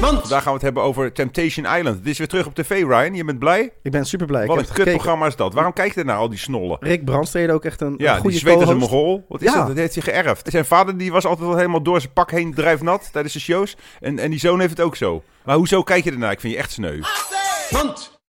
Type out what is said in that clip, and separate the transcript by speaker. Speaker 1: Want
Speaker 2: Vandaag gaan we het hebben over Temptation Island. Het is weer terug op tv, Ryan. Je bent blij?
Speaker 3: Ik ben super blij.
Speaker 2: Wat
Speaker 3: ik
Speaker 2: een
Speaker 3: heb het gekeken.
Speaker 2: kutprogramma is dat. Waarom kijk je naar al die snollen?
Speaker 3: Rick Brandstede ook echt een, een
Speaker 2: Ja, die
Speaker 3: goede
Speaker 2: zweet als een
Speaker 3: co-host.
Speaker 2: mogol. Wat is
Speaker 3: Ja.
Speaker 2: dat? Dat heeft hij geërfd. Zijn vader die was altijd al helemaal door zijn pak heen drijfnat tijdens de shows. En, en die zoon heeft het ook zo. Maar hoezo kijk je ernaar? Ik vind je echt sneu.
Speaker 1: Want